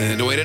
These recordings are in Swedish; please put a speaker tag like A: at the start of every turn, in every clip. A: Eh, det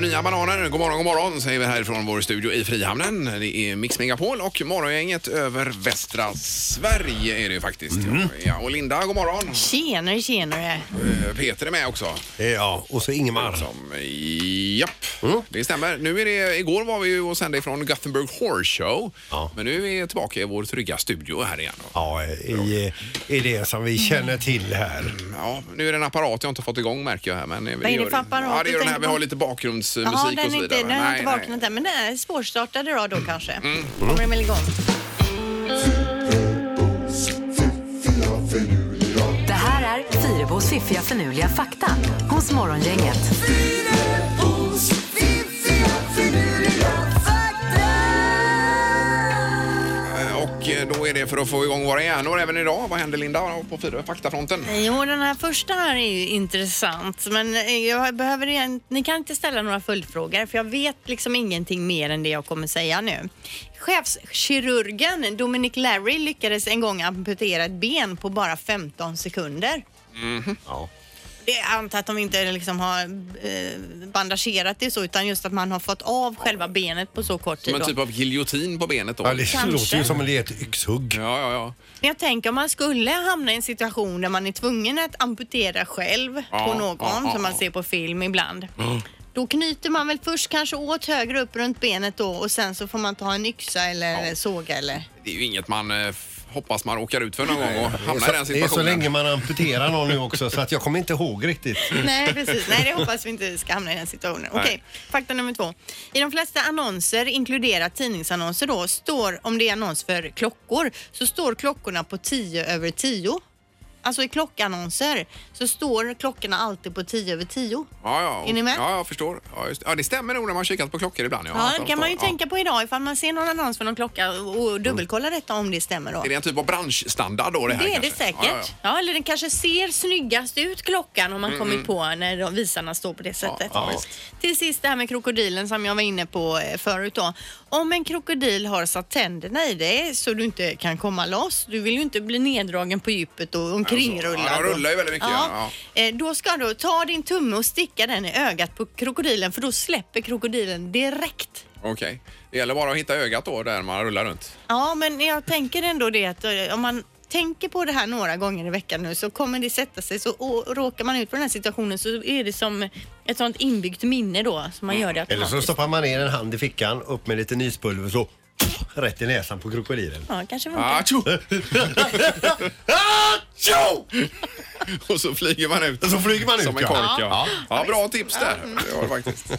A: nya bananer. God morgon, god morgon säger vi härifrån vår studio i Frihamnen. Det är Mix Megapol och morgongänget över västra Sverige är det ju faktiskt. Ja, och Linda, god morgon.
B: Tjenare, tjenare.
A: Eh, Peter är med också.
C: Ja, och så Ingemar.
A: Som, japp, det stämmer. Nu är det, igår var vi ju och sände ifrån Gothenburg Horse Show.
C: Ja.
A: Men nu är vi tillbaka i vår trygga studio här igen.
C: Ja, i, i det som vi känner till här.
A: Ja, nu är det en apparat jag inte fått igång märker jag här. Men
B: Vad är det för apparat
A: Ja, det är
B: du
A: den här.
B: tänker
A: Vi har
B: på?
A: lite bakgrundsmusik
B: Jaha,
A: och
B: den,
A: så
B: är inte,
A: vidare.
B: den har
A: Nej, Mm.
B: inte
A: nej.
B: vaknat än, men den är svårstartad idag då kanske. Kommer den väl igång?
D: Det här är Fyrabos fiffiga förnuliga fakta hos Morgongänget.
A: Eh, Och eh, då är det för att få igång våra hjärnor även idag. Vad händer Linda på fyra faktafronten?
B: Jo, den här första här är ju intressant, men eh, jag behöver en, ni kan inte ställa några följdfrågor för jag vet liksom ingenting mer än det jag kommer säga nu. Chefskirurgen Dominic Larry lyckades en gång amputera ett ben på bara 15 sekunder.
A: Mm.
C: Ja.
B: Det är antar att de inte liksom har eh, bandagerat det så utan just att man har fått av själva benet på så kort tid.
A: Som en
B: då.
A: typ av giljotin på benet då?
C: det
B: Kanske.
C: låter ju som ett yxhugg.
A: Ja, ja, ja.
B: Men Jag tänker om man skulle hamna i en situation där man är tvungen att amputera själv
A: Ja,
B: på någon
A: ja, ja,
B: som man
A: ja. Mm.
B: ser på film ibland. Då knyter man väl först kanske åt högre upp runt benet då och sen så får man ta en yxa eller såga eller...
A: Det är ju inget man eh, f- hoppas man råkar ut för någon gång och
C: Det är
A: hamnar i den
C: så- det är så
A: situationen.
C: länge man amputerar någon nu också så att jag kommer inte ihåg riktigt.
B: Nej, precis. Nej, det hoppas vi inte ska hamna i den situationen. Okej,
A: Nej.
B: fakta nummer två. I de flesta annonser, inkluderat tidningsannonser då, står, om det är annons för klockor, så står klockorna på 10 över 10. Alltså i klockannonser så står klockorna alltid på 10 över 10.
A: Ja, ja.
B: Är ni med?
A: Ja, jag förstår. Ja, just. ja, det stämmer nog när man kikat på klockor ibland.
B: Ja,
A: Jag
B: det kan man ju
A: förstår. Ja.
B: tänka på idag ifall man ser någon annons för någon klocka och dubbelkolla detta om det stämmer då.
A: Är det en typ av branschstandard då det här
B: Det är det
A: kanske?
B: säkert.
A: Ja,
B: Ja,
A: Mm,
B: eller den kanske ser snyggast ut klockan om man kommit på när de visarna står på det sättet.
A: ja, visst.
B: Till sist det här med krokodilen som jag var inne på eh, förut då. Om en krokodil har satt tänderna i dig så du inte kan komma loss. Du vill ju inte bli neddragen på djupet och omkringrullad.
A: Ja, de rullar ju väldigt mycket, ja.
B: Eh, Då ska du ta din tumme och sticka den i ögat på krokodilen för då släpper krokodilen direkt.
A: ja. Okej. Det gäller bara att hitta ögat då där man rullar runt.
B: Ja, men jag tänker ändå det att eh, om man tänker på det här några gånger i veckan nu så kommer det sätta sig. Så och råkar man ut för den här situationen så är det som ett sånt inbyggt minne då som man gör det
C: Eller så
B: automatiskt.
C: stoppar man ner en hand i fickan, upp med lite nyspulver så rätt i näsan på krokodilen.
B: Ja, kanske funkar.
A: Ah, tjo! Och så flyger man ut.
C: Och så flyger man ut,
A: Som en
C: ja. Mm.
A: kork, ja. Ja, bra tips där. Det var det faktiskt.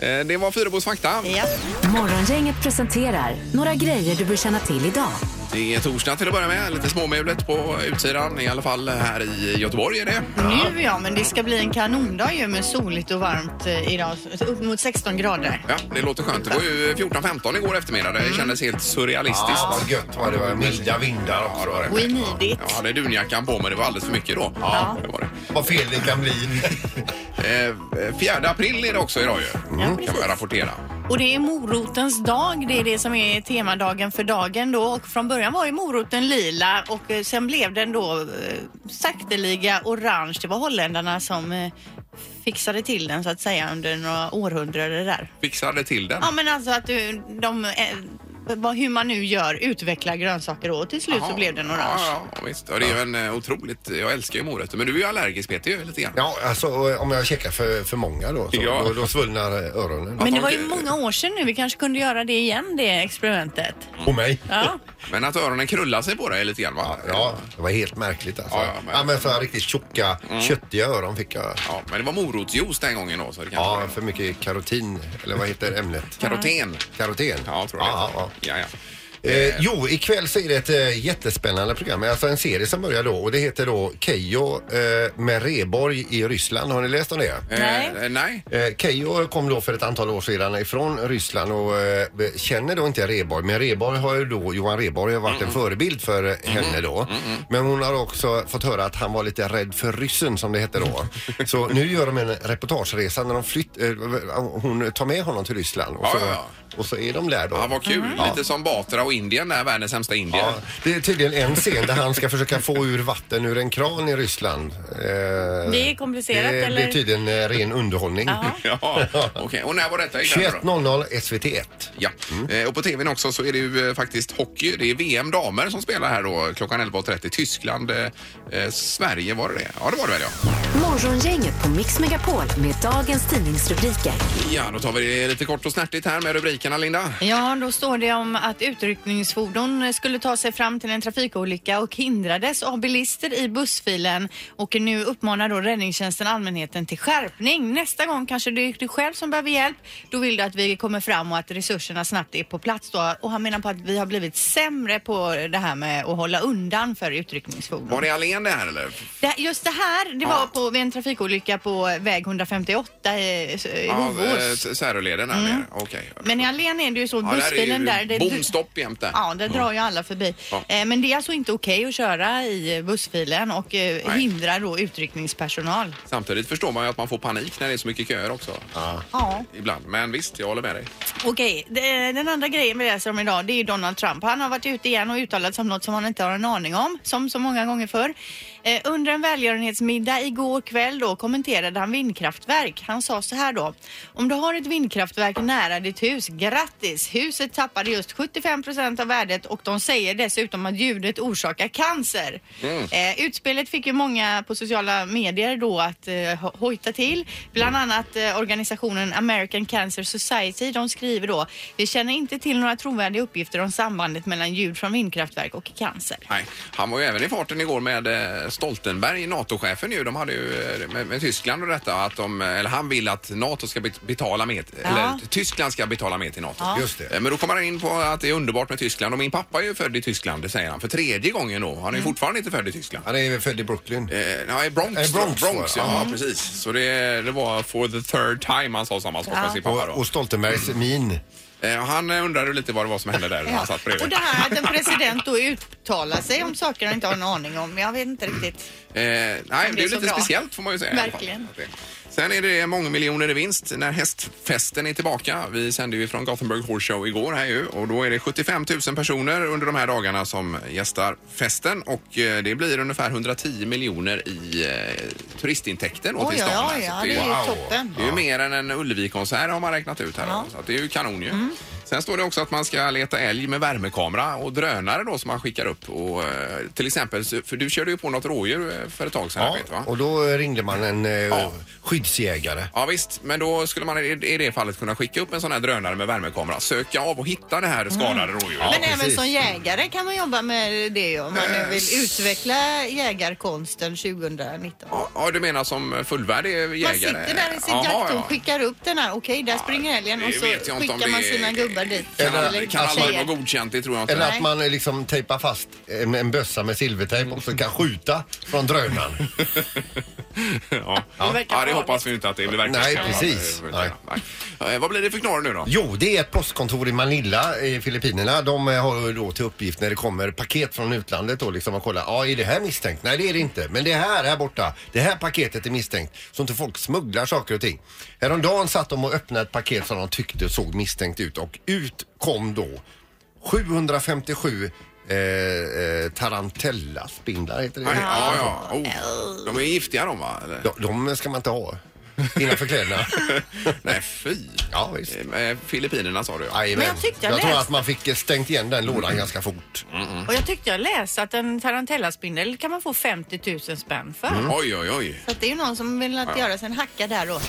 A: Eh, Det var Fyrebos fakta.
B: Ja.
D: Morgongänget presenterar några grejer du bör känna till idag.
A: Det är torsdag till att börja med. Lite småmulet på utsidan, i alla fall här i Göteborg är det.
B: Nu ja, men det ska bli en kanondag ju med soligt och varmt eh, idag. Så Upp mot 16 grader.
A: Ja, det låter skönt. Det var ju 14-15 igår eftermiddag.
C: Mm.
A: Det kändes helt surrealistiskt.
C: vad gött var det. var milda vindar också.
A: det var det.
B: We need it.
A: Jag hade dunjackan på mig, det var alldeles för mycket då. Ja. Det var det.
C: Vad fel det kan bli.
A: Eh, 4 april är det också idag ju, kan
C: Mm.
A: man
B: precis.
A: rapportera.
B: Och det är morotens dag. Det är det som är temadagen för dagen då. Och från början var ju moroten lila och eh, sen blev den då eh, sakteliga orange. Det var holländarna som eh, fixade till den så att säga under några århundraden där.
A: Fixade till den.
B: Ja men alltså att du, de, eh, vad, hur man nu gör, utvecklar grönsaker då. Och till slut så
A: Ja.
B: blev den orange.
A: Ja, ja, visst. Ja, det är ju en eh, otroligt... Jag älskar ju morötter, men du är ju allergisk Peter ju lite grann.
C: Ja, alltså om jag checkar för, för många då, så,
A: Ja.
C: då, då svullnar öronen.
B: Men det
A: Ja,
B: var ju
A: okej.
B: många år sedan nu. Vi kanske kunde göra det igen, det experimentet.
C: På mig?
B: Ja.
A: Men att öronen krullar sig på dig lite grann va?
C: Ja, det var helt märkligt alltså.
A: Ja,
C: Ja,
A: ja, men- Mm.
C: men... så här riktigt tjocka, köttiga öron fick jag.
A: Ja, men det var morotsjuice den gången då. Så det kanske
C: Ja,
A: var-
C: för mycket karotin, eller vad heter ämnet?
A: Karoten.
C: Karoten?
A: Ja, tror jag
C: Ja,
A: det heter.
C: ja,
A: ja, ja.
C: ja. Eh, jo, ikväll så är det ett eh, jättespännande program, alltså en serie som börjar då och det heter då Keyyo eh, med Reborg i Ryssland. Har ni läst om det?
B: Nej.
A: Eh, nej.
C: Eh, Keyyo kom då för ett antal år sedan ifrån Ryssland och eh, känner då inte Reborg. Men Reborg har ju då, Johan Reborg har varit en förebild för eh, henne då. Men hon har också fått höra att han var lite rädd för ryssen som det hette då. Så nu gör de en reportageresa när de flytt, eh, hon tar med honom till Ryssland och
A: Ja,
C: så,
A: ja,
C: och så är de där då.
B: Mm.
A: Ja, vad kul. Lite som Batra och och Indien, där, världens sämsta Indien.
C: Ja, det är tydligen en scen där han ska försöka få ur vatten ur en kran i Ryssland. Eh,
B: Det är komplicerat,
C: det, det
B: eller?
C: är tydligen eh, ren underhållning.
B: Ja.
A: Ja, okej. Och när var detta ikväll då?
C: 21.00 SVT1.
A: Ja,
C: Mm.
A: Eh, och på tvn också så är det ju eh, faktiskt hockey. Det är VM damer som spelar här då klockan 11.30. Tyskland, eh, eh, Sverige var det det? Ja, det var det väl ja.
D: Morgongänget på Mix Megapol med dagens tidningsrubriker.
A: Ja, då tar vi det lite kort och snärtigt här med rubrikerna Linda.
B: Ja, då står det om att utryckningsfordon skulle ta sig fram till en trafikolycka och hindrades av bilister i bussfilen. Och nu uppmanar då räddningstjänsten allmänheten till skärpning. Nästa gång kanske det är du själv som behöver hjälp. Då vill du att vi kommer fram och att resurserna snabbt är på plats då. Och han menar på att vi har blivit sämre på det här med att hålla undan för utryckningsfordon.
A: Var det Allén det här eller?
B: Det, just det här, det var
A: Ja.
B: på, vid en trafikolycka på väg 158 i, i
A: eh,
B: Hovås.
A: S- Säröleden här nere. Okej.
B: Mm. Men i Allén är det ju så,
A: Ja, där
B: bussfilen
A: är
B: där...
A: ju
B: det-
A: bomstopp jämt där.
B: Ja, det drar ju alla förbi.
A: Ja.
B: Eh, Men det är alltså inte okej att köra i bussfilen och eh,
A: Nej.
B: hindrar då utryckningspersonal.
A: Samtidigt förstår man ju att man får panik när det är så mycket köer också.
B: Ja.
A: Ibland. Men visst, jag håller med dig.
B: Okej, det- den andra grejen vi läser om idag det är ju Donald Trump. Han har varit ute igen och uttalat sig om något som han inte har en aning om, som så många gånger förr. Eh, under en välgörenhetsmiddag igår kväll då kommenterade han vindkraftverk. Han sa så här då. Om du har ett vindkraftverk nära ditt hus, grattis! Huset tappade just 75 procent av värdet och de säger dessutom att ljudet orsakar cancer. Eh, utspelet fick ju många på sociala medier då att eh, ho- hojta till. Bland annat eh, organisationen American Cancer Society. De skriver då, vi känner inte till några trovärdiga uppgifter om sambandet mellan ljud från vindkraftverk och cancer.
A: Nej, han var ju även i farten igår med eh, Stoltenberg, NATO-chefen ju. De hade ju eh, med, med Tyskland och detta att de, eh, eller han vill att NATO ska bet- betala med, eller Tyskland ska betala med till NATO.
C: Just det.
A: Eh, Men då kommer han in på att det är underbart med Tyskland och min pappa är ju född i Tyskland, det säger han. För tredje gången då. Han är
B: Mm.
A: ju fortfarande inte född i Tyskland.
C: Han är ju född i Brooklyn.
A: Eh, Ja, i Bronx.
C: Eh, Bronx,
A: Bronx
C: var det.
A: ja, precis. Så det, det var for the third time han sa samma sak med
B: Ja.
A: sin pappa
C: Och,
A: då. Mm.
C: och Stoltenbergs min.
A: Eh, Han undrade lite vad det var som hände där när han satt bredvid.
B: Och det här att en president då uttalar sig om saker han inte har en aning om. Jag vet inte riktigt.
A: Eh, nej, det är
B: blir
A: ju
B: så
A: lite
B: bra.
A: speciellt får man ju säga. i alla fall.
B: Verkligen.
A: Att det- Sen är det mångmiljoner i vinst när hästfesten är tillbaka. Vi sände ju från Gothenburg Horse Show igår här ju och då är det 75 000 personer under de här dagarna som gästar festen och eh, det blir ungefär 110 miljoner i eh, turistintäkter då
B: Oj,
A: till
B: oj,
A: stan. här.
B: oj,
A: Så
B: ja,
A: det
B: det
A: är-
B: är ju
C: wow.
B: toppen.
A: det är ju mer än en Ullevi-konsert har man räknat ut här.
B: Ja. Mm.
A: Så att det är ju kanon ju. Sen står det också att man ska leta älg med värmekamera och drönare då som man skickar upp. Och, eh, till exempel, så- för du körde ju på något rådjur eh, för ett tag sedan.
C: Ja,
A: Peter, va?
C: och då ringde man en eh,
A: Ja.
C: skyddsjägare.
A: Ja visst, men då skulle man i i det fallet kunna skicka upp en sån här drönare med värmekamera, söka av och hitta det här skadade rådjuret.
B: Mm. Men även
C: precis.
B: som jägare kan man jobba med det ju, om man nu vill utveckla jägarkonsten 2019.
A: Ja, Ja, du menar som fullvärdig jägare?
B: Man sitter där i sitt
A: Jaha,
B: jakttorn
A: ja.
B: och skickar upp den här. Okej, där springer älgen
A: det
B: och så
A: vet jag inte om
B: skickar man
A: det är-
B: sina gubbar dit.
A: Kan,
B: Eller
A: kan aldrig
B: tjejer.
A: vara godkänt, det tror jag inte.
C: Eller att
B: Nej.
C: man eh, liksom tejpar fast en, en bössa med silvertejp och så kan skjuta från drönaren.
A: ja.
B: Det verkar
A: ja, det
B: farligt.
A: hoppas vi inte att det blir verkligt.
C: Nej, precis.
A: Nej. Eh, Vad blir det för knorr nu då?
C: Jo, det är ett postkontor i Manila i Filippinerna. De eh, har ju då till uppgift när det kommer paket från utlandet och liksom att kolla. Ja, är det här misstänkt? Nej, det är det inte. Men det här här borta, det här paketet är misstänkt. Så inte folk smugglar saker och ting. Häromdagen satt de och öppnade ett paket som de tyckte såg misstänkt ut och ut kom då 757 eh, eh, tarantellaspindlar heter det.
A: Nej, Ja, ja. Oh. De är giftiga de va? Eller?
C: De, de ska man inte ha innanför kläderna.
A: Nej, fy.
C: Ja, visst.
A: Eh, Filippinerna sa du ja.
C: Jajamän.
B: Men jag tyckte jag
C: tror
B: läste-
C: att man fick eh, stängt igen den lådan ganska fort.
B: Och jag tyckte jag läste att en tarantellaspindel kan man få 50 000 spänn för.
C: Mm.
A: Oj, oj, oj.
B: Mm. Så att det är ju någon som vill att göra sig en hacka där då.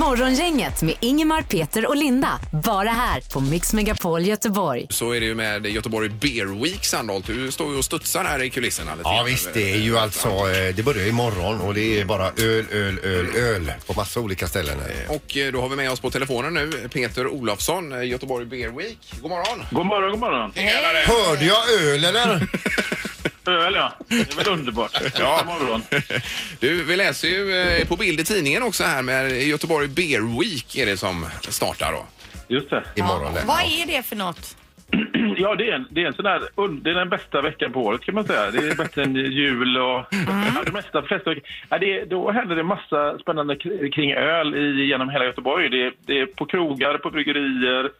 D: Morgongänget med Ingemar, Peter och Linda. Bara här på Mix Megapol Göteborg.
A: Så är det ju med Göteborg Beer Week, Sandholt. Du står ju och studsar här i kulisserna. Lite
C: Ja
A: grann.
C: visst, det är ju alltså, eh, det börjar imorgon och det är bara öl, öl, öl, öl på massa olika ställen. här.
A: Och eh, då har vi med oss på telefonen nu Peter Olofsson, eh, Göteborg Beer Week. God morgon!
E: God morgon, god morgon.
A: Tjenare!
C: Hörde jag öl eller?
E: Öl, ja. Det är väl underbart.
A: Ja.
E: God morgon.
A: Du, vi läser ju eh, på bild i tidningen också här med Göteborg Beer Week är det som startar då.
E: Just det.
C: Imorgon där.
B: Vad är det för något?
E: Ja, det är, en, det är en sån här... und- Det är den bästa veckan på året, kan man säga. Det är bättre än jul och... Ja, det mesta, de flesta veckor. ja, det, är- Då händer det massa spännande k- kring öl i, genom hela Göteborg. Det, är- det är på krogar, på bryggerier,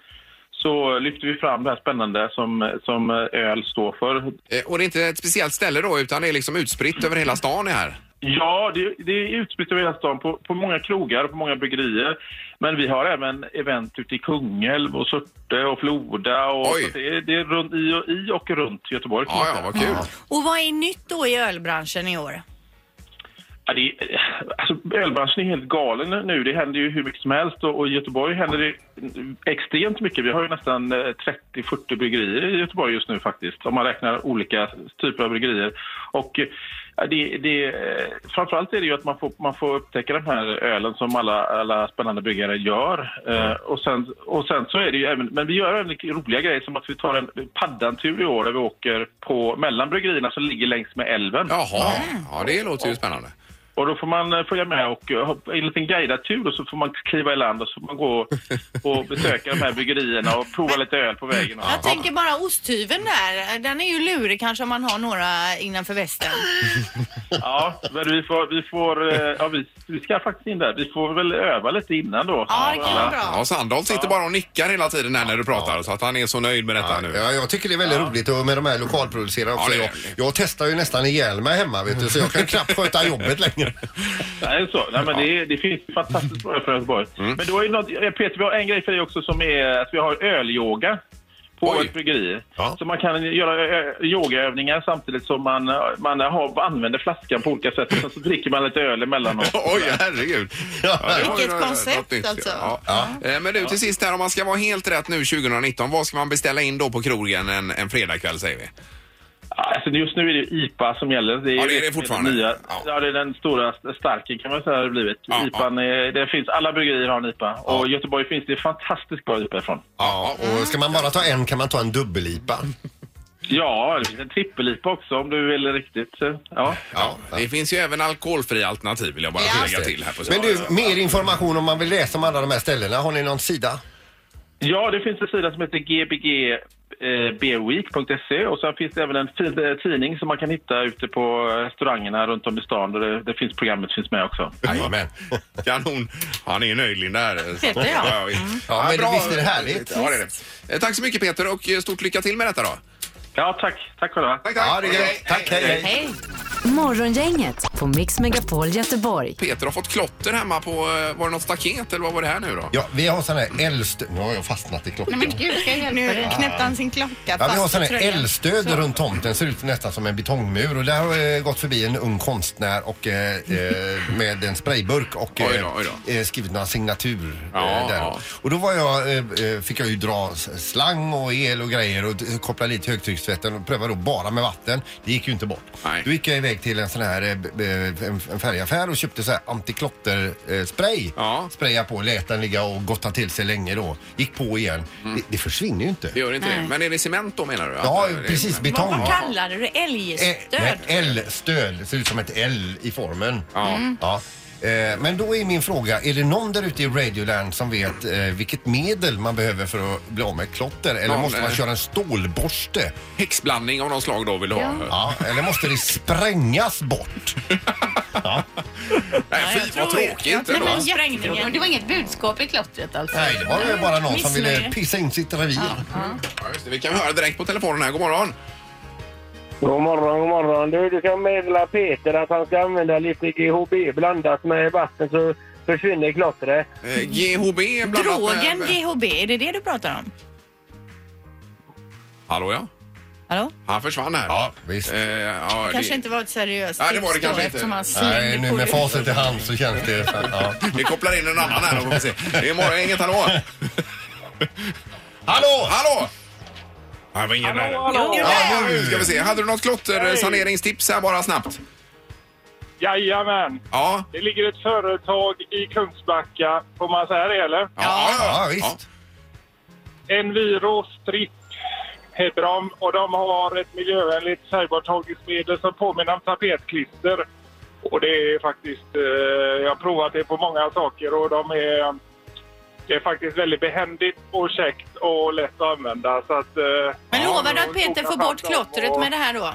E: så lyfter vi fram det här spännande som, som öl står för.
A: Eh, Och det är inte ett speciellt ställe då, utan det är liksom utspritt över hela stan det här.
E: Ja, det, det är utspritt över hela stan på, på många krogar och på många bryggerier. Men vi har även event ute i Kungälv och Surte och Floda. Och
A: Oj.
E: så att det, är- det är runt, i, och, i och runt Göteborg. kan
A: Ja,
E: man
A: ja,
E: säga.
A: vad kul.
B: Och vad är nytt då i ölbranschen i år?
E: Ja, det är, alltså, ölbranschen är helt galen nu. Det händer ju hur mycket som helst och, och i Göteborg händer det extremt mycket. Vi har ju nästan eh, 30-40 bryggerier i Göteborg just nu faktiskt om man räknar olika typer av bryggerier. Och eh, ja, det, det, eh, framförallt är det ju att man får, man får upptäcka de här ölen som alla, alla spännande bryggare gör. Eh, och, sen, och sen så är det ju även, men vi gör även roliga grejer som att vi tar en paddantur i år där vi åker på, mellan bryggerierna som ligger längs med älven.
A: Jaha, ja det låter ju spännande.
E: Och då får man eh, följa med och eh, ha en liten guidad tur och så får man kliva i land och så får man gå och besöka de här bryggerierna och prova lite öl på vägen. Och
B: Jag tänker bara osthyveln där, den är ju lurig kanske om man har några innanför västen.
E: ja, men vi får, vi får, eh, ja vi, vi ska faktiskt in där. Vi får väl öva lite innan då.
B: Ja, det kan vara bra.
A: Ja, Sandholt sitter bara och nickar hela tiden här när du pratar så att han är så nöjd med detta nu.
C: Ja, jag tycker det är väldigt roligt och med de här lokalproducerade också.
A: Ja, det är
C: jag,
A: det.
C: jag testar ju nästan ihjäl mig hemma vet du, så jag kan knappt sköta jobbet längre.
E: Nej, så. Nej, men det, det finns fantastiskt bra för Göteborg. Men då är det något, eh, Peter, vi har en grej för dig också som är att vi har ölyoga på
A: Oj.
E: ett bryggeri.
C: Ja.
E: Så man kan göra ö- yogaövningar samtidigt som man, eh, man har, använder flaskan på olika sätt och sen så dricker man lite öl emellanåt.
A: Oj, herregud. Ja, det var ju
B: Vilket
A: något-
B: koncept,
A: något nytt,
B: alltså.
A: Ja. Eh, Men du, till sist här, om man ska vara helt rätt nu 2019, vad ska man beställa in då på krogen en, en fredagkväll säger vi?
E: Alltså just nu är det IPA som gäller. är,
A: Ja, det är det fortfarande.
E: Nya,
A: Ja.
E: ja. det är den stora starken kan man säga har det blivit.
A: Ja,
E: IPAn är, det finns, alla bryggerier har en IPA och i Göteborg finns det fantastiskt bra IPA ifrån.
C: Ja, och ska man bara ta en kan man ta en dubbellipa.
E: Ja, det finns en trippel-IPA också om du vill riktigt. så- Ja.
A: Ja, det finns ju även alkoholfria alternativ vill jag bara
B: Ja.
A: lägga till här på
C: Men
A: sidan.
C: du, mer information om man vill läsa om alla de här ställena. Har ni någon sida?
E: ja, det finns en sida som heter gbg eh, beerweek.se E. och sen finns det även en fin eh, tidning som man kan hitta ute på eh, restaurangerna runt om i stan där det, det finns programmet finns med också.
C: Jajamän.
A: Kanon. Han är nöjd Linda här. Så-
B: Peter, ja.
C: Ja, men visst är det härligt?
A: Ja, det är det. Eh, Tack så mycket Peter och eh, stort lycka till med detta då.
E: Ja, tack. Tack själva.
C: Ja, det är gött. Tack, hej, hej.
B: Hej!
D: Morgongänget på Mix Megapol Göteborg.
A: Peter har fått klotter hemma på, eh, var det något staket eller vad var det här nu då?
C: Ja, vi har sån här älgstöd. Nu har jag fastnat i klockan.
B: gud, ska jag hjälpa dig? Nu knäppte han sin klocka
C: Ja, vi har
B: fast i
C: sån här
B: tröjan.
C: älgstöd runt tomten. Ser ut nästan som en betongmur. Och där har eh, gått förbi en ung konstnär och, eh, eh, med en sprayburk och
A: Oj då, oj då.
C: eh, skrivit några signatur.
A: Ja,
C: eh, där.
A: ja.
C: Och då var jag, eh, eh, fick jag ju dra s- slang och el och grejer och eh, koppla lite högtryckstvätten och pröva då bara med vatten. Det gick ju inte bort.
A: Nej.
C: Då gick jag iväg till en sån här eh, b- b- en en färgaffär och köpte så här antiklotterspray.
A: Ja.
C: Spraya på, lät den ligga och gotta till sig länge då. Gick på igen.
A: Mm.
C: Det, det försvinner ju inte.
A: Det gör inte det. Men är det cement då menar du?
C: Ja,
A: Att, eh, det-
C: precis.
B: Vad,
C: Betong.
B: vad kallade du det?
C: Eh,
B: Älgstöd?
C: nej, L-stöd. Det ser ut som ett L i formen.
A: Ja.
C: Ja. Eh, Men då är min fråga, är det någon där ute i Radioland som vet eh, vilket medel man behöver för att bli av med klotter? Eller
A: Ja,
C: måste man
A: nej.
C: köra en stålborste?
A: Häxblandning av någon slag då vill du ha?
C: Ja, eller måste det sprängas bort?
A: Nej, fy vad tråkigt.
B: Nej, men
A: ändå.
B: sprängningen.
F: Det var inget budskap i klottret alltså.
C: Nej, det var ju bara någon som ville
F: Missnöje.
C: pissa in sitt revir.
A: Mm. Ja, just det. Vi kan höra direkt på telefonen här. God morgon.
G: God morgon, god morgon. Du, du kan meddela Peter att han ska använda lite GHB blandat med vatten så försvinner klottret.
A: Eh, GHB bland annat med-
B: Drogen GHB, är det det du pratar om?
A: Hallå ja.
B: Hallå?
A: Han försvann här.
C: Ja, visst.
A: Eh, ja,
B: Kanske
A: det,
B: inte var ett seriöst
A: Nej, det var det
B: tips då,
A: kanske inte.
B: eftersom han slängde
C: Nej, nu
B: på
C: med
B: det.
C: facit i hand så känns det... Ja.
A: Vi kopplar in en annan här då får vi se. Det är morgon, inget hallå.
C: Hallå!
A: Hallå! Det var ingen där.
B: Jo,
A: Ja, nu ska vi se. Hade du något klottersaneringstips här bara snabbt?
H: Jajamän.
A: Ja.
H: Det ligger ett företag i Kungsbacka. Får man säga det eller?
C: Ja, visst.
H: Enviro Strip heter de och de har ett miljövänligt färgborttagningsmedel som påminner om tapetklister. Och det är faktiskt, eh, jag har provat det på många saker och de är, det är faktiskt väldigt behändigt och käckt och lätt att använda. Så att, eh,
B: Men lovar du
H: ja,
B: att Peter
H: koka
B: får bort
H: fram dem
B: klottret
H: och-
B: med det här då?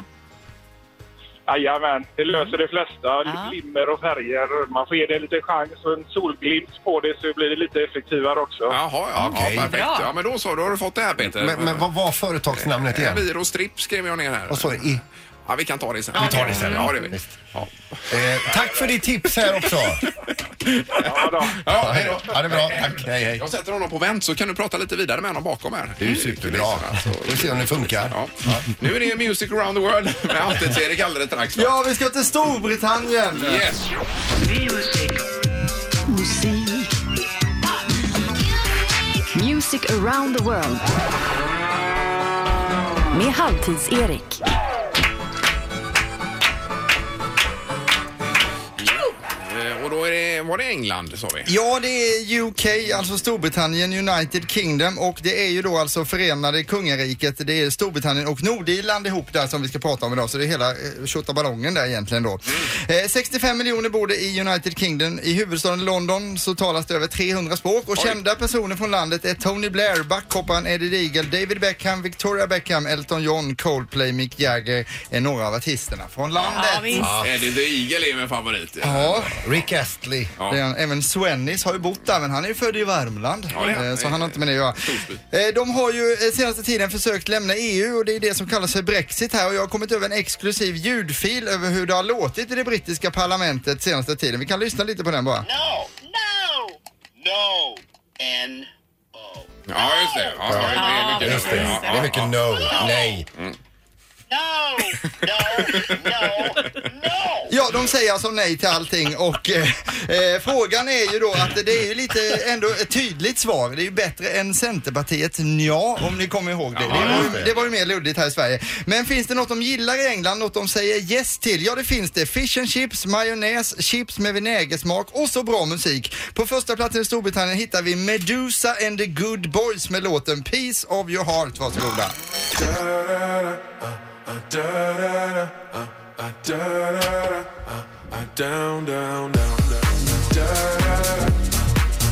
H: Jajamän, det löser de flesta.
B: Ja.
H: Limmer och färger. Man får ge det lite chans och en solglimt på det så blir det lite effektivare också.
A: Jaha, ja,
C: Okej.
A: ja, perfekt.
F: Bra.
A: Ja, men då så, då har du fått det här Peter.
C: Men, men vad var företagsnamnet
A: Eh,
C: igen?
A: Virostripp skrev jag ner här.
C: Och så i,
A: Ja, vi kan ta det sen.
C: vi tar det sen.
A: Ja, det gör vi.
C: Visst. Eh, tack för ditt tips här också.
H: Ja, då.
A: Ja, hej då.
C: Ja, det är bra. Tack. Hej, hej.
A: Jag sätter honom på vänt så kan du prata lite vidare med honom bakom här.
C: Det är ju superbra. Vi får se om det funkar.
A: Ja. Nu är det Music around the world med Halvtids-Erik alldeles strax. va?
I: Ja, vi ska till Storbritannien.
A: Yes.
D: Music around the world. Med Halvtids-Erik.
A: Eh, Och då är det, var det England sa vi?
I: Ja, det är UK, alltså Storbritannien, United Kingdom och det är ju då alltså förenade kungariket. Det är Storbritannien och Nordirland ihop där som vi ska prata om idag. Så det är hela eh, ballongen där egentligen då. Eh, 65 miljoner bor det i United Kingdom. I huvudstaden London så talas det över 300 språk och kända personer från landet är Tony Blair, backhopparen Eddie Deagle, David Beckham, Victoria Beckham, Elton John, Coldplay, Mick Jagger är några av artisterna från landet.
B: Ja, visst.
A: Eddie the Eagle Eh, är min favorit.
I: Ja.
C: Rick Astley.
A: Ja.
I: Det är han. Även Svennis har ju bott där, men han är ju född i Värmland.
A: Ja, det är han.
I: Eh, så
A: Det-
I: han har inte med det att göra.
A: Torsby.
I: Eh, De har ju eh, senaste tiden försökt lämna EU och det är det som kallas för Brexit här och jag har kommit över en exklusiv ljudfil över hur det har låtit i det brittiska parlamentet senaste tiden. Vi kan lyssna lite på den bara.
J: No, no, no, N O.
A: Ja, just det. Ja, det är mycket
C: Just det.
A: Ja,
C: Det är mycket no, nej.
J: No, no, no, no.
I: Ja, de säger alltså nej till allting och eh, eh, frågan är ju då att det är ju lite ändå ett tydligt svar. Det är ju bättre än Centerpartiet nja, om ni kommer ihåg det. Det var, ju, det var ju mer luddigt här i Sverige. Men finns det något de gillar i England, något de säger yes till? Ja, det finns det. Fish and chips, majonnäs, chips med vinägersmak och så bra musik. På första platsen i Storbritannien hittar vi Medusa and the Good Boys med låten Peace of your heart. Varsågoda.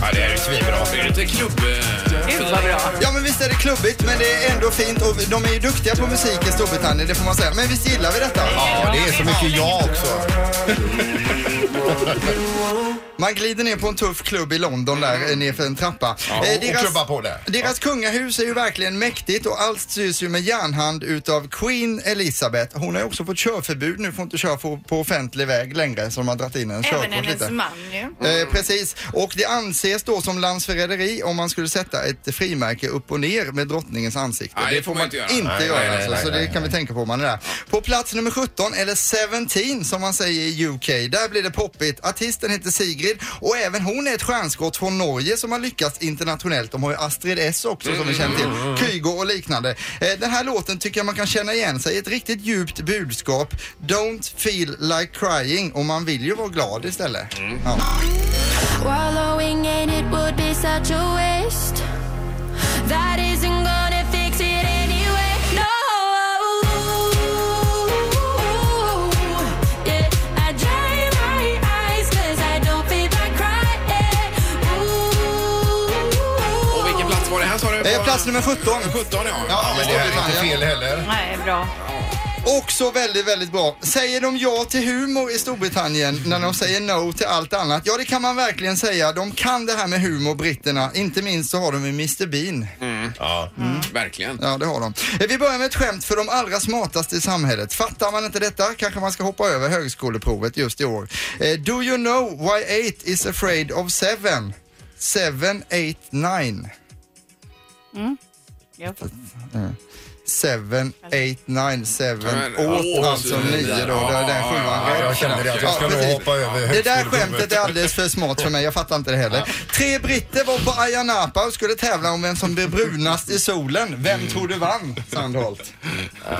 A: Ja, det är ju svinbra. Det är lite klubb... eh,
F: Gud vad bra.
I: Ja men visst är det klubbigt men det är ändå fint och de är ju duktiga på musik i Storbritannien det får man säga. Men visst gillar vi detta?
C: Ja, det är så mycket ja också.
I: Man glider ner på en tuff klubb i London där eh, ner för en trappa. Eh,
C: Ja, och- och klubbar på där.
I: Deras kungahus är ju verkligen mäktigt och allt styrs ju med järnhand utav Queen Elizabeth. Hon har ju också fått körförbud nu, får inte köra på, på offentlig väg längre så de har dragit in en
F: Även
I: körkort
F: hennes
I: lite.
F: man ju.
I: Eh, precis, och det anses då som landsförräderi om man skulle sätta ett frimärke upp och ner med drottningens ansikte.
A: Nej, det får man inte göra.
I: Inte
A: Nej,
I: göra
A: nej, nej,
I: alltså,
A: nej,
I: så det kan vi tänka på om man är där. På plats nummer 17, eller 17 som man säger i UK, där blir det poppigt. Artisten heter Sigrid och även hon är ett stjärnskott från Norge som har lyckats internationellt. De har ju Astrid S också som vi känner
A: Mm,
I: till, Kygo och liknande. Eh, den här låten tycker jag man kan känna igen sig i ett riktigt djupt budskap. Don't feel like crying och man vill ju vara glad istället.
A: Mm.
I: Ja.
K: Wallowing in it would be such a waste. That isn't gonna fix it anyway. No. Yeah, I dry my eyes 'cause I don't feel like crying. Ooh.
A: Och vilken plats var det här sa du?
I: Eh, plats nummer 17.
A: 17 ja.
I: Ja,
C: Men det här är inte fel heller.
F: Nej, bra.
I: Också väldigt, väldigt bra. Säger de ja till humor i Storbritannien när de säger no till allt annat? Ja, det kan man verkligen säga. De kan det här med humor, britterna. Inte minst så har de ju Mr Bean.
C: Ja.
A: Mm. Verkligen.
I: Ja, det har de. Eh, Vi börjar med ett skämt för de allra smartaste i samhället. Fattar man inte detta kanske man ska hoppa över högskoleprovet just i år. Eh, Do you know why eight is afraid of seven? Seven, eight, nine. Eh,
F: Jag får-
I: Seven, eight, nine, seven,
A: Men,
I: åt,
A: åh,
I: alltså
A: så
I: nio
A: vidare.
I: då. Det är
A: Ja,
I: den
A: ja,
I: sjuan.
A: ja,
C: Ja, jag kände det att jag
I: Ja,
C: ska nog
I: precis.
C: hoppa över
I: Det där
C: högskoleprovet.
I: skämtet är alldeles för smart för mig, jag fattar inte det heller. Tre britter var på Ayia Napa och skulle tävla om vem som blev brunast i solen. Vem tror du vann, Sandholt?
C: Eh,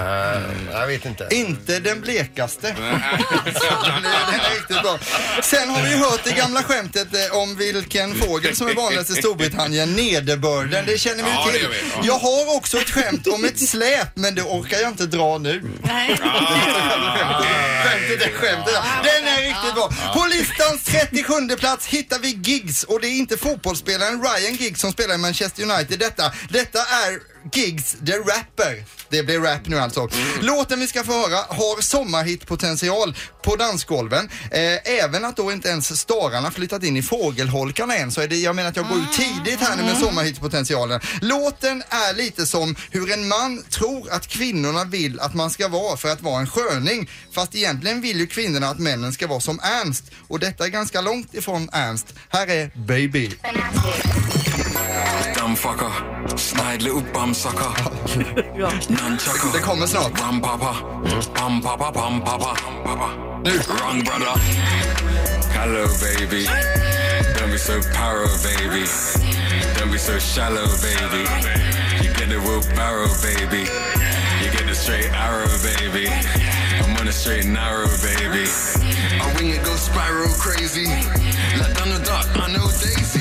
C: Jag vet inte.
A: Mm.
I: Inte den blekaste. Den är- den är riktigt bra. Sen har vi ju hört det gamla skämtet eh, om vilken fågel som är vanligast i Storbritannien, nederbörden. Det känner vi
A: Ja,
I: ju
A: det
I: till.
A: gör vi, ja.
I: Jag har också ett skämt om ett släp, men det orkar jag inte dra nu.
F: Nej.
I: Skämtet är skämtet. Den är riktigt bra. På listans 37 plats hittar vi Giggs och det är inte fotbollsspelaren Ryan Giggs som spelar i Manchester United detta. Detta är Gigs the Rapper. Det blir rap nu alltså. Låten vi ska få höra har sommarhitpotential på dansgolven. Eh, även att då inte ens stararna flyttat in i fågelholkarna än så är det, jag menar att jag går ut tidigt här nu med sommarhitpotentialen. Låten är lite som hur en man tror att kvinnorna vill att man ska vara för att vara en sköning. Fast egentligen vill ju kvinnorna att männen ska vara som Ernst. Och detta är ganska långt ifrån Ernst. Här är Baby.
L: Dammfucker, snegle upp bamsacker. Nunchucker.
I: Det kommer snart.
L: Bam, pappa. Bam, pappa, bam, pappa. pappa.
I: Nu.
L: Wrong brother. Hello baby. Don't be so paro baby. Don't be so shallow baby. You get the wheelbarrow baby. You get the straight arrow baby. I'm on a straight narrow baby. I wing it go spiral crazy. Like Donald Duck, I know Daisy.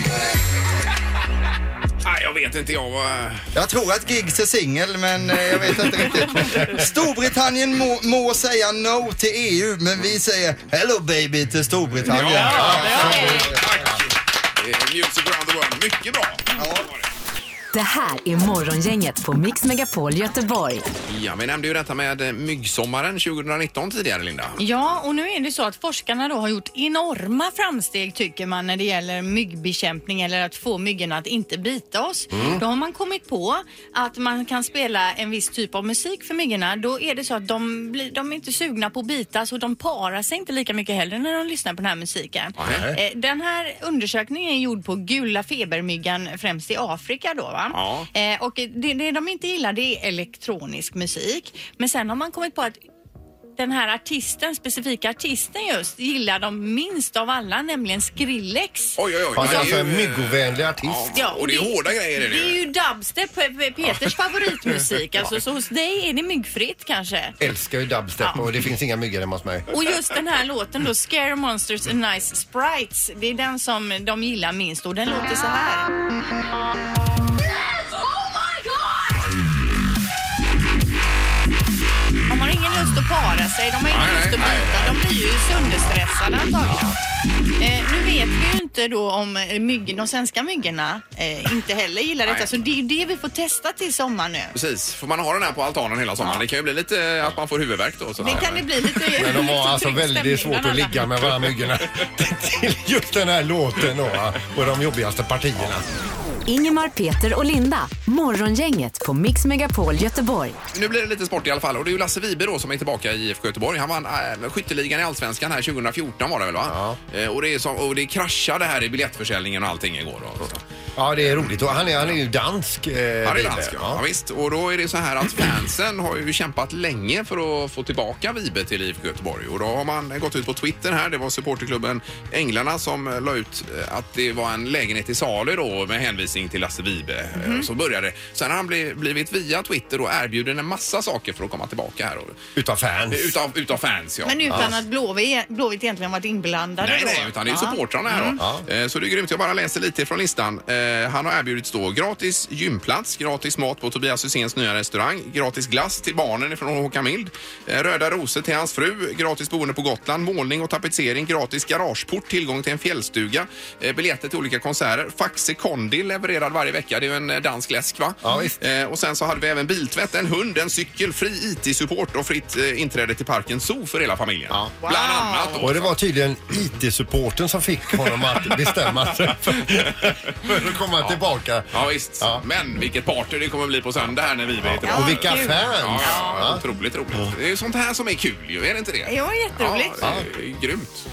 A: Nej, jag vet inte. Jag var...
I: Jag tror att Giggs är singel men eh, jag vet inte riktigt. Storbritannien må, må säga no till EU men vi säger hello baby till Storbritannien.
A: Eh, Music around the world. Mycket bra.
D: Det här är Morgongänget på Mix Megapol Göteborg.
A: Ja, vi nämnde ju detta med eh, myggsommaren 2019 tidigare, Linda.
B: Ja, och nu är det så att forskarna då har gjort enorma framsteg tycker man när det gäller myggbekämpning eller att få myggorna att inte bita oss.
M: Mm.
B: Då har man kommit på att man kan spela en viss typ av musik för myggorna. Då är det så att de, blir, de är inte sugna på att bitas och de parar sig inte lika mycket heller när de lyssnar på den här musiken.
M: Nej.
B: Eh, Den här undersökningen är gjord på gula febermyggan främst i Afrika då va?
M: Ja.
B: Eh, och det, det de inte gillar det är elektronisk musik. Men sen har man kommit på att den här artisten, specifika artisten just, gillar de minst av alla, nämligen Skrillex.
A: Oj, oj, oj.
C: Han är
A: Ja,
C: alltså
A: det
C: en myggovänlig artist.
B: Ja, och det-
A: är det
B: Det är ju dubstep, Pe- Pe- Peters favoritmusik.
C: Ja.
B: Alltså, så hos dig är det myggfritt kanske.
C: Älskar ju dubstep och det finns inga myggor hemma hos mig.
A: Mm.
B: Och just den här låten då, Scare Monsters and Nice Sprites, det är den som de gillar minst och den låter så här. De har ingen lust att para sig, de har ingen lust att bita, de blir ju sönderstressade antagligen. Eh, nu vet vi ju inte då om eh, myggen, de svenska myggorna eh, inte heller gillar detta,
A: Nej.
B: så det är ju det vi får testa till sommar nu.
A: Precis, får man ha den här på altanen hela sommaren? Det kan ju bli lite eh, att man får huvudvärk då. Så
B: Det kan det bli lite...
C: Men de
B: lite
C: har alltså
B: tryckt stämning
C: väldigt svårt att
B: bland alla.
C: ligga med varandra myggorna. Till just den här låten då va? och de jobbigaste partierna.
D: Ingemar, Peter och Linda. Morgongänget på Mix Megapol Göteborg.
A: Nu blir det lite sport i alla fall och det är ju Lasse Wibe då som är tillbaka i IFK Göteborg. Han vann äh, skytteligan i Allsvenskan här 2014 var det väl va? Eh, och, det är som, och det kraschade här i biljettförsäljningen och allting igår. Då.
C: Ja, det är roligt. Och han är, han är ju dansk. Eh,
A: Här är
C: Wibe.
A: dansk, ja. ja. visst. Och då är det så här att fansen har ju kämpat länge för att få tillbaka Vibe till IFK Göteborg. Och då har man gått ut på Twitter här. Det var supporterklubben Änglarna som eh, la ut eh, att det var en lägenhet i salu då med hänvisning till Lasse Vibe.
N: Mhm.
A: Så började det. Sen har han bli- blivit via Twitter och erbjuden en massa saker för att komma tillbaka här. eh,
C: Utav fans?
A: Utav, utav fans, ja.
B: Men utan
A: Ja.
B: att Blåvitt, e- Blåvitt egentligen varit inblandade
A: Nej,
B: då.
A: nej, utan det är
B: Ja.
A: supportrarna här
B: Mm.
A: då. Eh, Så det är grymt. Jag bara läser lite från listan. Eh, Han har erbjudits då gratis gymplats, gratis mat på Tobias Hyséns nya restaurang, gratis glass till barnen ifrån Håkan Mild, eh, röda rosor till hans fru, gratis boende på Gotland, målning och tapetsering, gratis garageport, tillgång till en fjällstuga, eh, biljetter till olika konserter, Faxe Kondi levererad varje vecka. Det är ju en eh, dansk läsk va? Eh, Och sen så hade vi även biltvätt, en hund, en cykel, fri IT-support och fritt eh, inträde till parken Zoo för hela familjen. Bland annat då.
C: Och det var tydligen IT-supporten som fick honom att bestämma sig för, för att komma tillbaka.
A: Ja visst. Men vilket party det kommer bli på söndag här när vi vet
C: Ja, och vilka
A: kul.
C: fans.
A: Ja, ja, ja. Otroligt roligt. Det är ju sånt här som är kul ju, är det inte det?
B: Ja, jätteroligt.
A: Ja, det är grymt.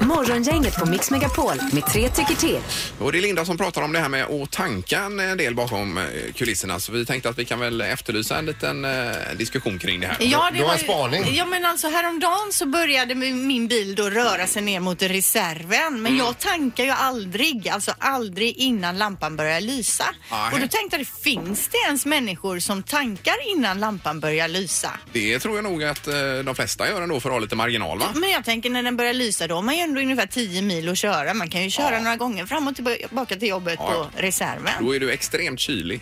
D: Morgongänget på Mix Megapol med tre tycker till.
A: Och det är Linda som pratar om det här med att tanka en del bakom eh, kulisserna. Så vi tänkte att vi kan väl efterlysa en liten eh, diskussion kring det här.
B: Ja, det var ju- Ja, men alltså häromdagen så började min min bil då röra sig ner mot reserven. Men
A: Mm.
B: jag tankar ju aldrig, alltså aldrig innan lampan börjar lysa.
A: Nej.
B: Och då tänkte jag, finns det ens människor som tankar innan lampan börjar lysa?
A: Det tror jag nog att eh, de flesta gör ändå för att ha lite marginal va?
B: Men jag tänker när den börjar lysa då har man ju ändå ungefär 10 mil att köra. Man kan ju köra några gånger fram och tillbaka till jobbet
A: Ja, ja.
B: på reserven.
A: Då är du extremt kylig.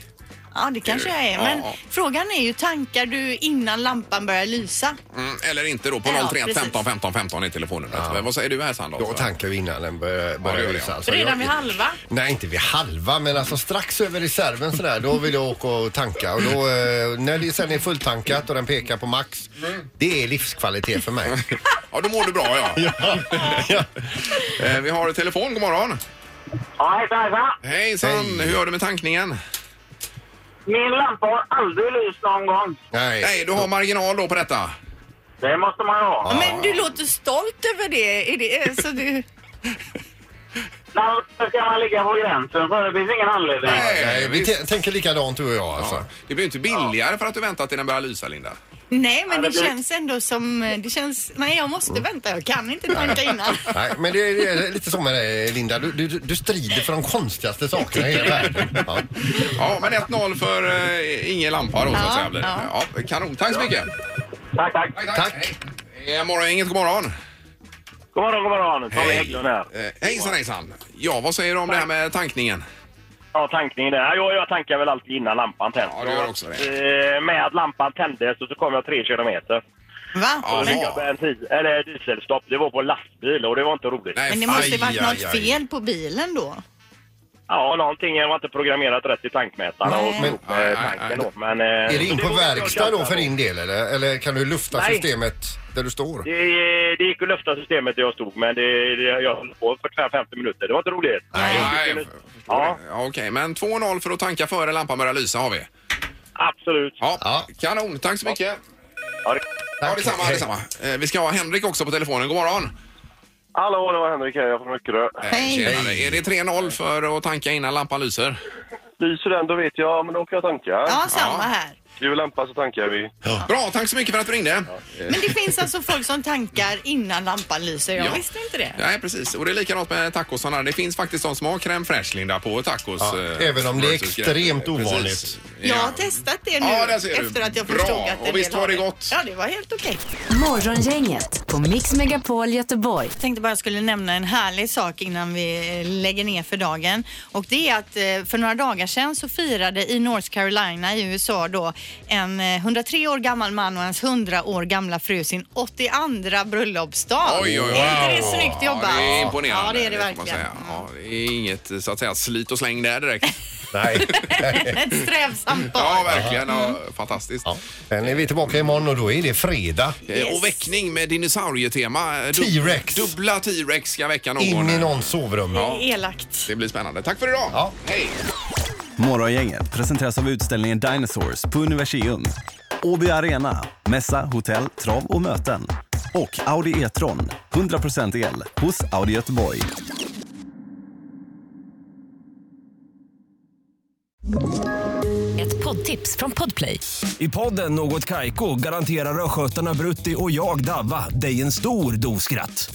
B: Ja, det kanske jag är. Men
A: Ja, ja.
B: frågan är ju tankar du innan lampan börjar lysa?
A: Mm, eller inte då på
B: Ja,
A: 031
B: precis.
A: 15 15 15 i telefonnumret. Men Vad säger du här Sandra?
C: Då tankar vi innan den börjar
A: Ja, det
C: börjar
A: gör
C: lysa.
A: jag.
C: Alltså,
B: Redan
C: jag-
B: vid halva?
C: Nej, inte vid halva, men alltså strax över reserven sådär. Då vill jag åka och tanka. Och då, eh, när det sen är fulltankat och den pekar på max,
A: Mm.
C: det är livskvalitet för mig.
A: Ja, då mår du bra ja. Eh, Vi har telefon, god morgon.
M: Ja, hejsan, hejsan.
A: Hejsan, hur gör du med tankningen?
M: Min lampa har aldrig lyst någon gång.
C: Nej.
A: du har marginal då på detta.
M: Det måste man ha.
B: Men du låter stolt över det. Är det så du...
M: Då ska man ligga på gränsen för det finns ingen anledning.
C: Nej, vi t- tänker likadant du och jag alltså.
A: Det blir ju inte billigare för att du väntar till den börjar lysa Linda.
B: Nej, men
A: det Mm.
B: det
A: blir-
B: känns ändå som... eh, Det känns... Nej, jag måste vänta. Jag kan inte tanka innan.
C: Nej, men det är, det är lite så med dig Linda. Du, du, du strider för de konstigaste sakerna i hela världen. Ja.
A: Ja, men 1-0 för eh, ingen lampa då så att
C: Ja,
A: säga. blir det. Ja.
C: ja.
A: kanon, tack så mycket.
M: Tack, tack.
C: Tack.
A: Eh, morgon, inget, god morgon.
M: God morgon, god morgon. Tommy Hägglund här.
A: Eh, hejsan, hejsan. Ja, vad säger du om det här med tankningen?
M: Ja, tankningen där. Ja, jag tankar väl alltid innan lampan tänds.
A: Ja, du gör också
M: det. Med att lampan tändes och så kom jag tre kilometer.
B: Va?
M: Och då fick jag bensin, eller dieselstopp. Det var på lastbil och det var inte roligt.
B: Men det måste ju varit något fel på bilen då.
M: Ja, någonting. Jag var inte programmerat rätt i tankmätaren och slog med tanken då. Men, eh,
C: Är det
M: så
C: in på
M: var väl
C: verkstad då
M: ganska
C: för
M: bra.
C: din del eller? Eller kan du lufta
M: Nej.
C: systemet där du står?
M: Det, det gick att lufta systemet där jag stod, men det, det, jag höll på 45-50 minuter. Det var inte roligt.
A: Nej, ja. ja, okej. Men 2-0 för att tanka före lampan börjar lysa har vi.
M: Absolut.
A: Ja, kanon. Tack så mycket.
M: Ja, det...
A: ja detsamma, detsamma. Eh, Vi ska ha Henrik också på telefonen. God morgon.
N: Hallå, det var Henrik här jag från Öckerö.
A: Hej. Är det 3-0 för att tanka innan lampan lyser?
N: Lyser den, då vet jag, men då åker jag och tankar. Ja,
B: samma här.
N: Skriver lampa så tankar vi.
A: Bra, tack så mycket för att du ringde.
B: Men det finns alltså folk som tankar innan lampan lyser. Jag
A: Ja.
B: visste inte det.
A: Nej, precis. Och det är likadant med tacosarna. Det finns faktiskt de som har crème fraîche, Linda, på tacos.
C: Ja,
A: eh,
C: även om det är
A: versus crème.
C: extremt
A: Precis.
C: ovanligt.
B: Jag har testat det nu
A: Ja, där ser du.
B: efter att jag
A: Bra.
B: förstod att
A: Och
B: en
A: visst
B: del
A: var det
B: har
A: gott?
B: Ja, det var helt okej.
D: Morgongänget på Mix Megapol Göteborg.
B: Jag tänkte bara jag skulle nämna en härlig sak innan vi eh, lägger ner för dagen. Och det är att eh, för några dagar sedan så firade i North Carolina i USA då en eh, 103 år gammal man och hans 100 år gamla fru sin 82 bröllopsdag.
A: Oj, oj, oj.
B: Är inte det snyggt jobbat?
A: Ja, det är imponerande.
B: Ja, det är det
A: får man
B: verkligen.
A: säga. Ja, det är inget så att säga, slit och släng där direkt.
C: Nej.
B: Ett strävsamt par.
A: Ja, verkligen. Ja, fantastiskt.
C: Sen är vi tillbaka imorgon och då är det fredag.
A: Eh, Och väckning med dinosaurietema. Eh, dub-
C: T-Rex.
A: Dubbla T-Rex ska väcka någon.
C: In i någons sovrum.
A: Ja.
B: Elakt.
A: Det blir spännande. Tack för idag. Hej!
O: Morgongänget presenteras av utställningen Dinosaurs på Universium. Åby Arena, mässa, hotell, trav och möten. Och Audi E-tron, 100% el, hos Audi Göteborg.
P: Ett poddtips från Podplay.
Q: I podden Något Kaiko garanterar östgötarna Brutti och jag, Davva, dig en stor dos skratt.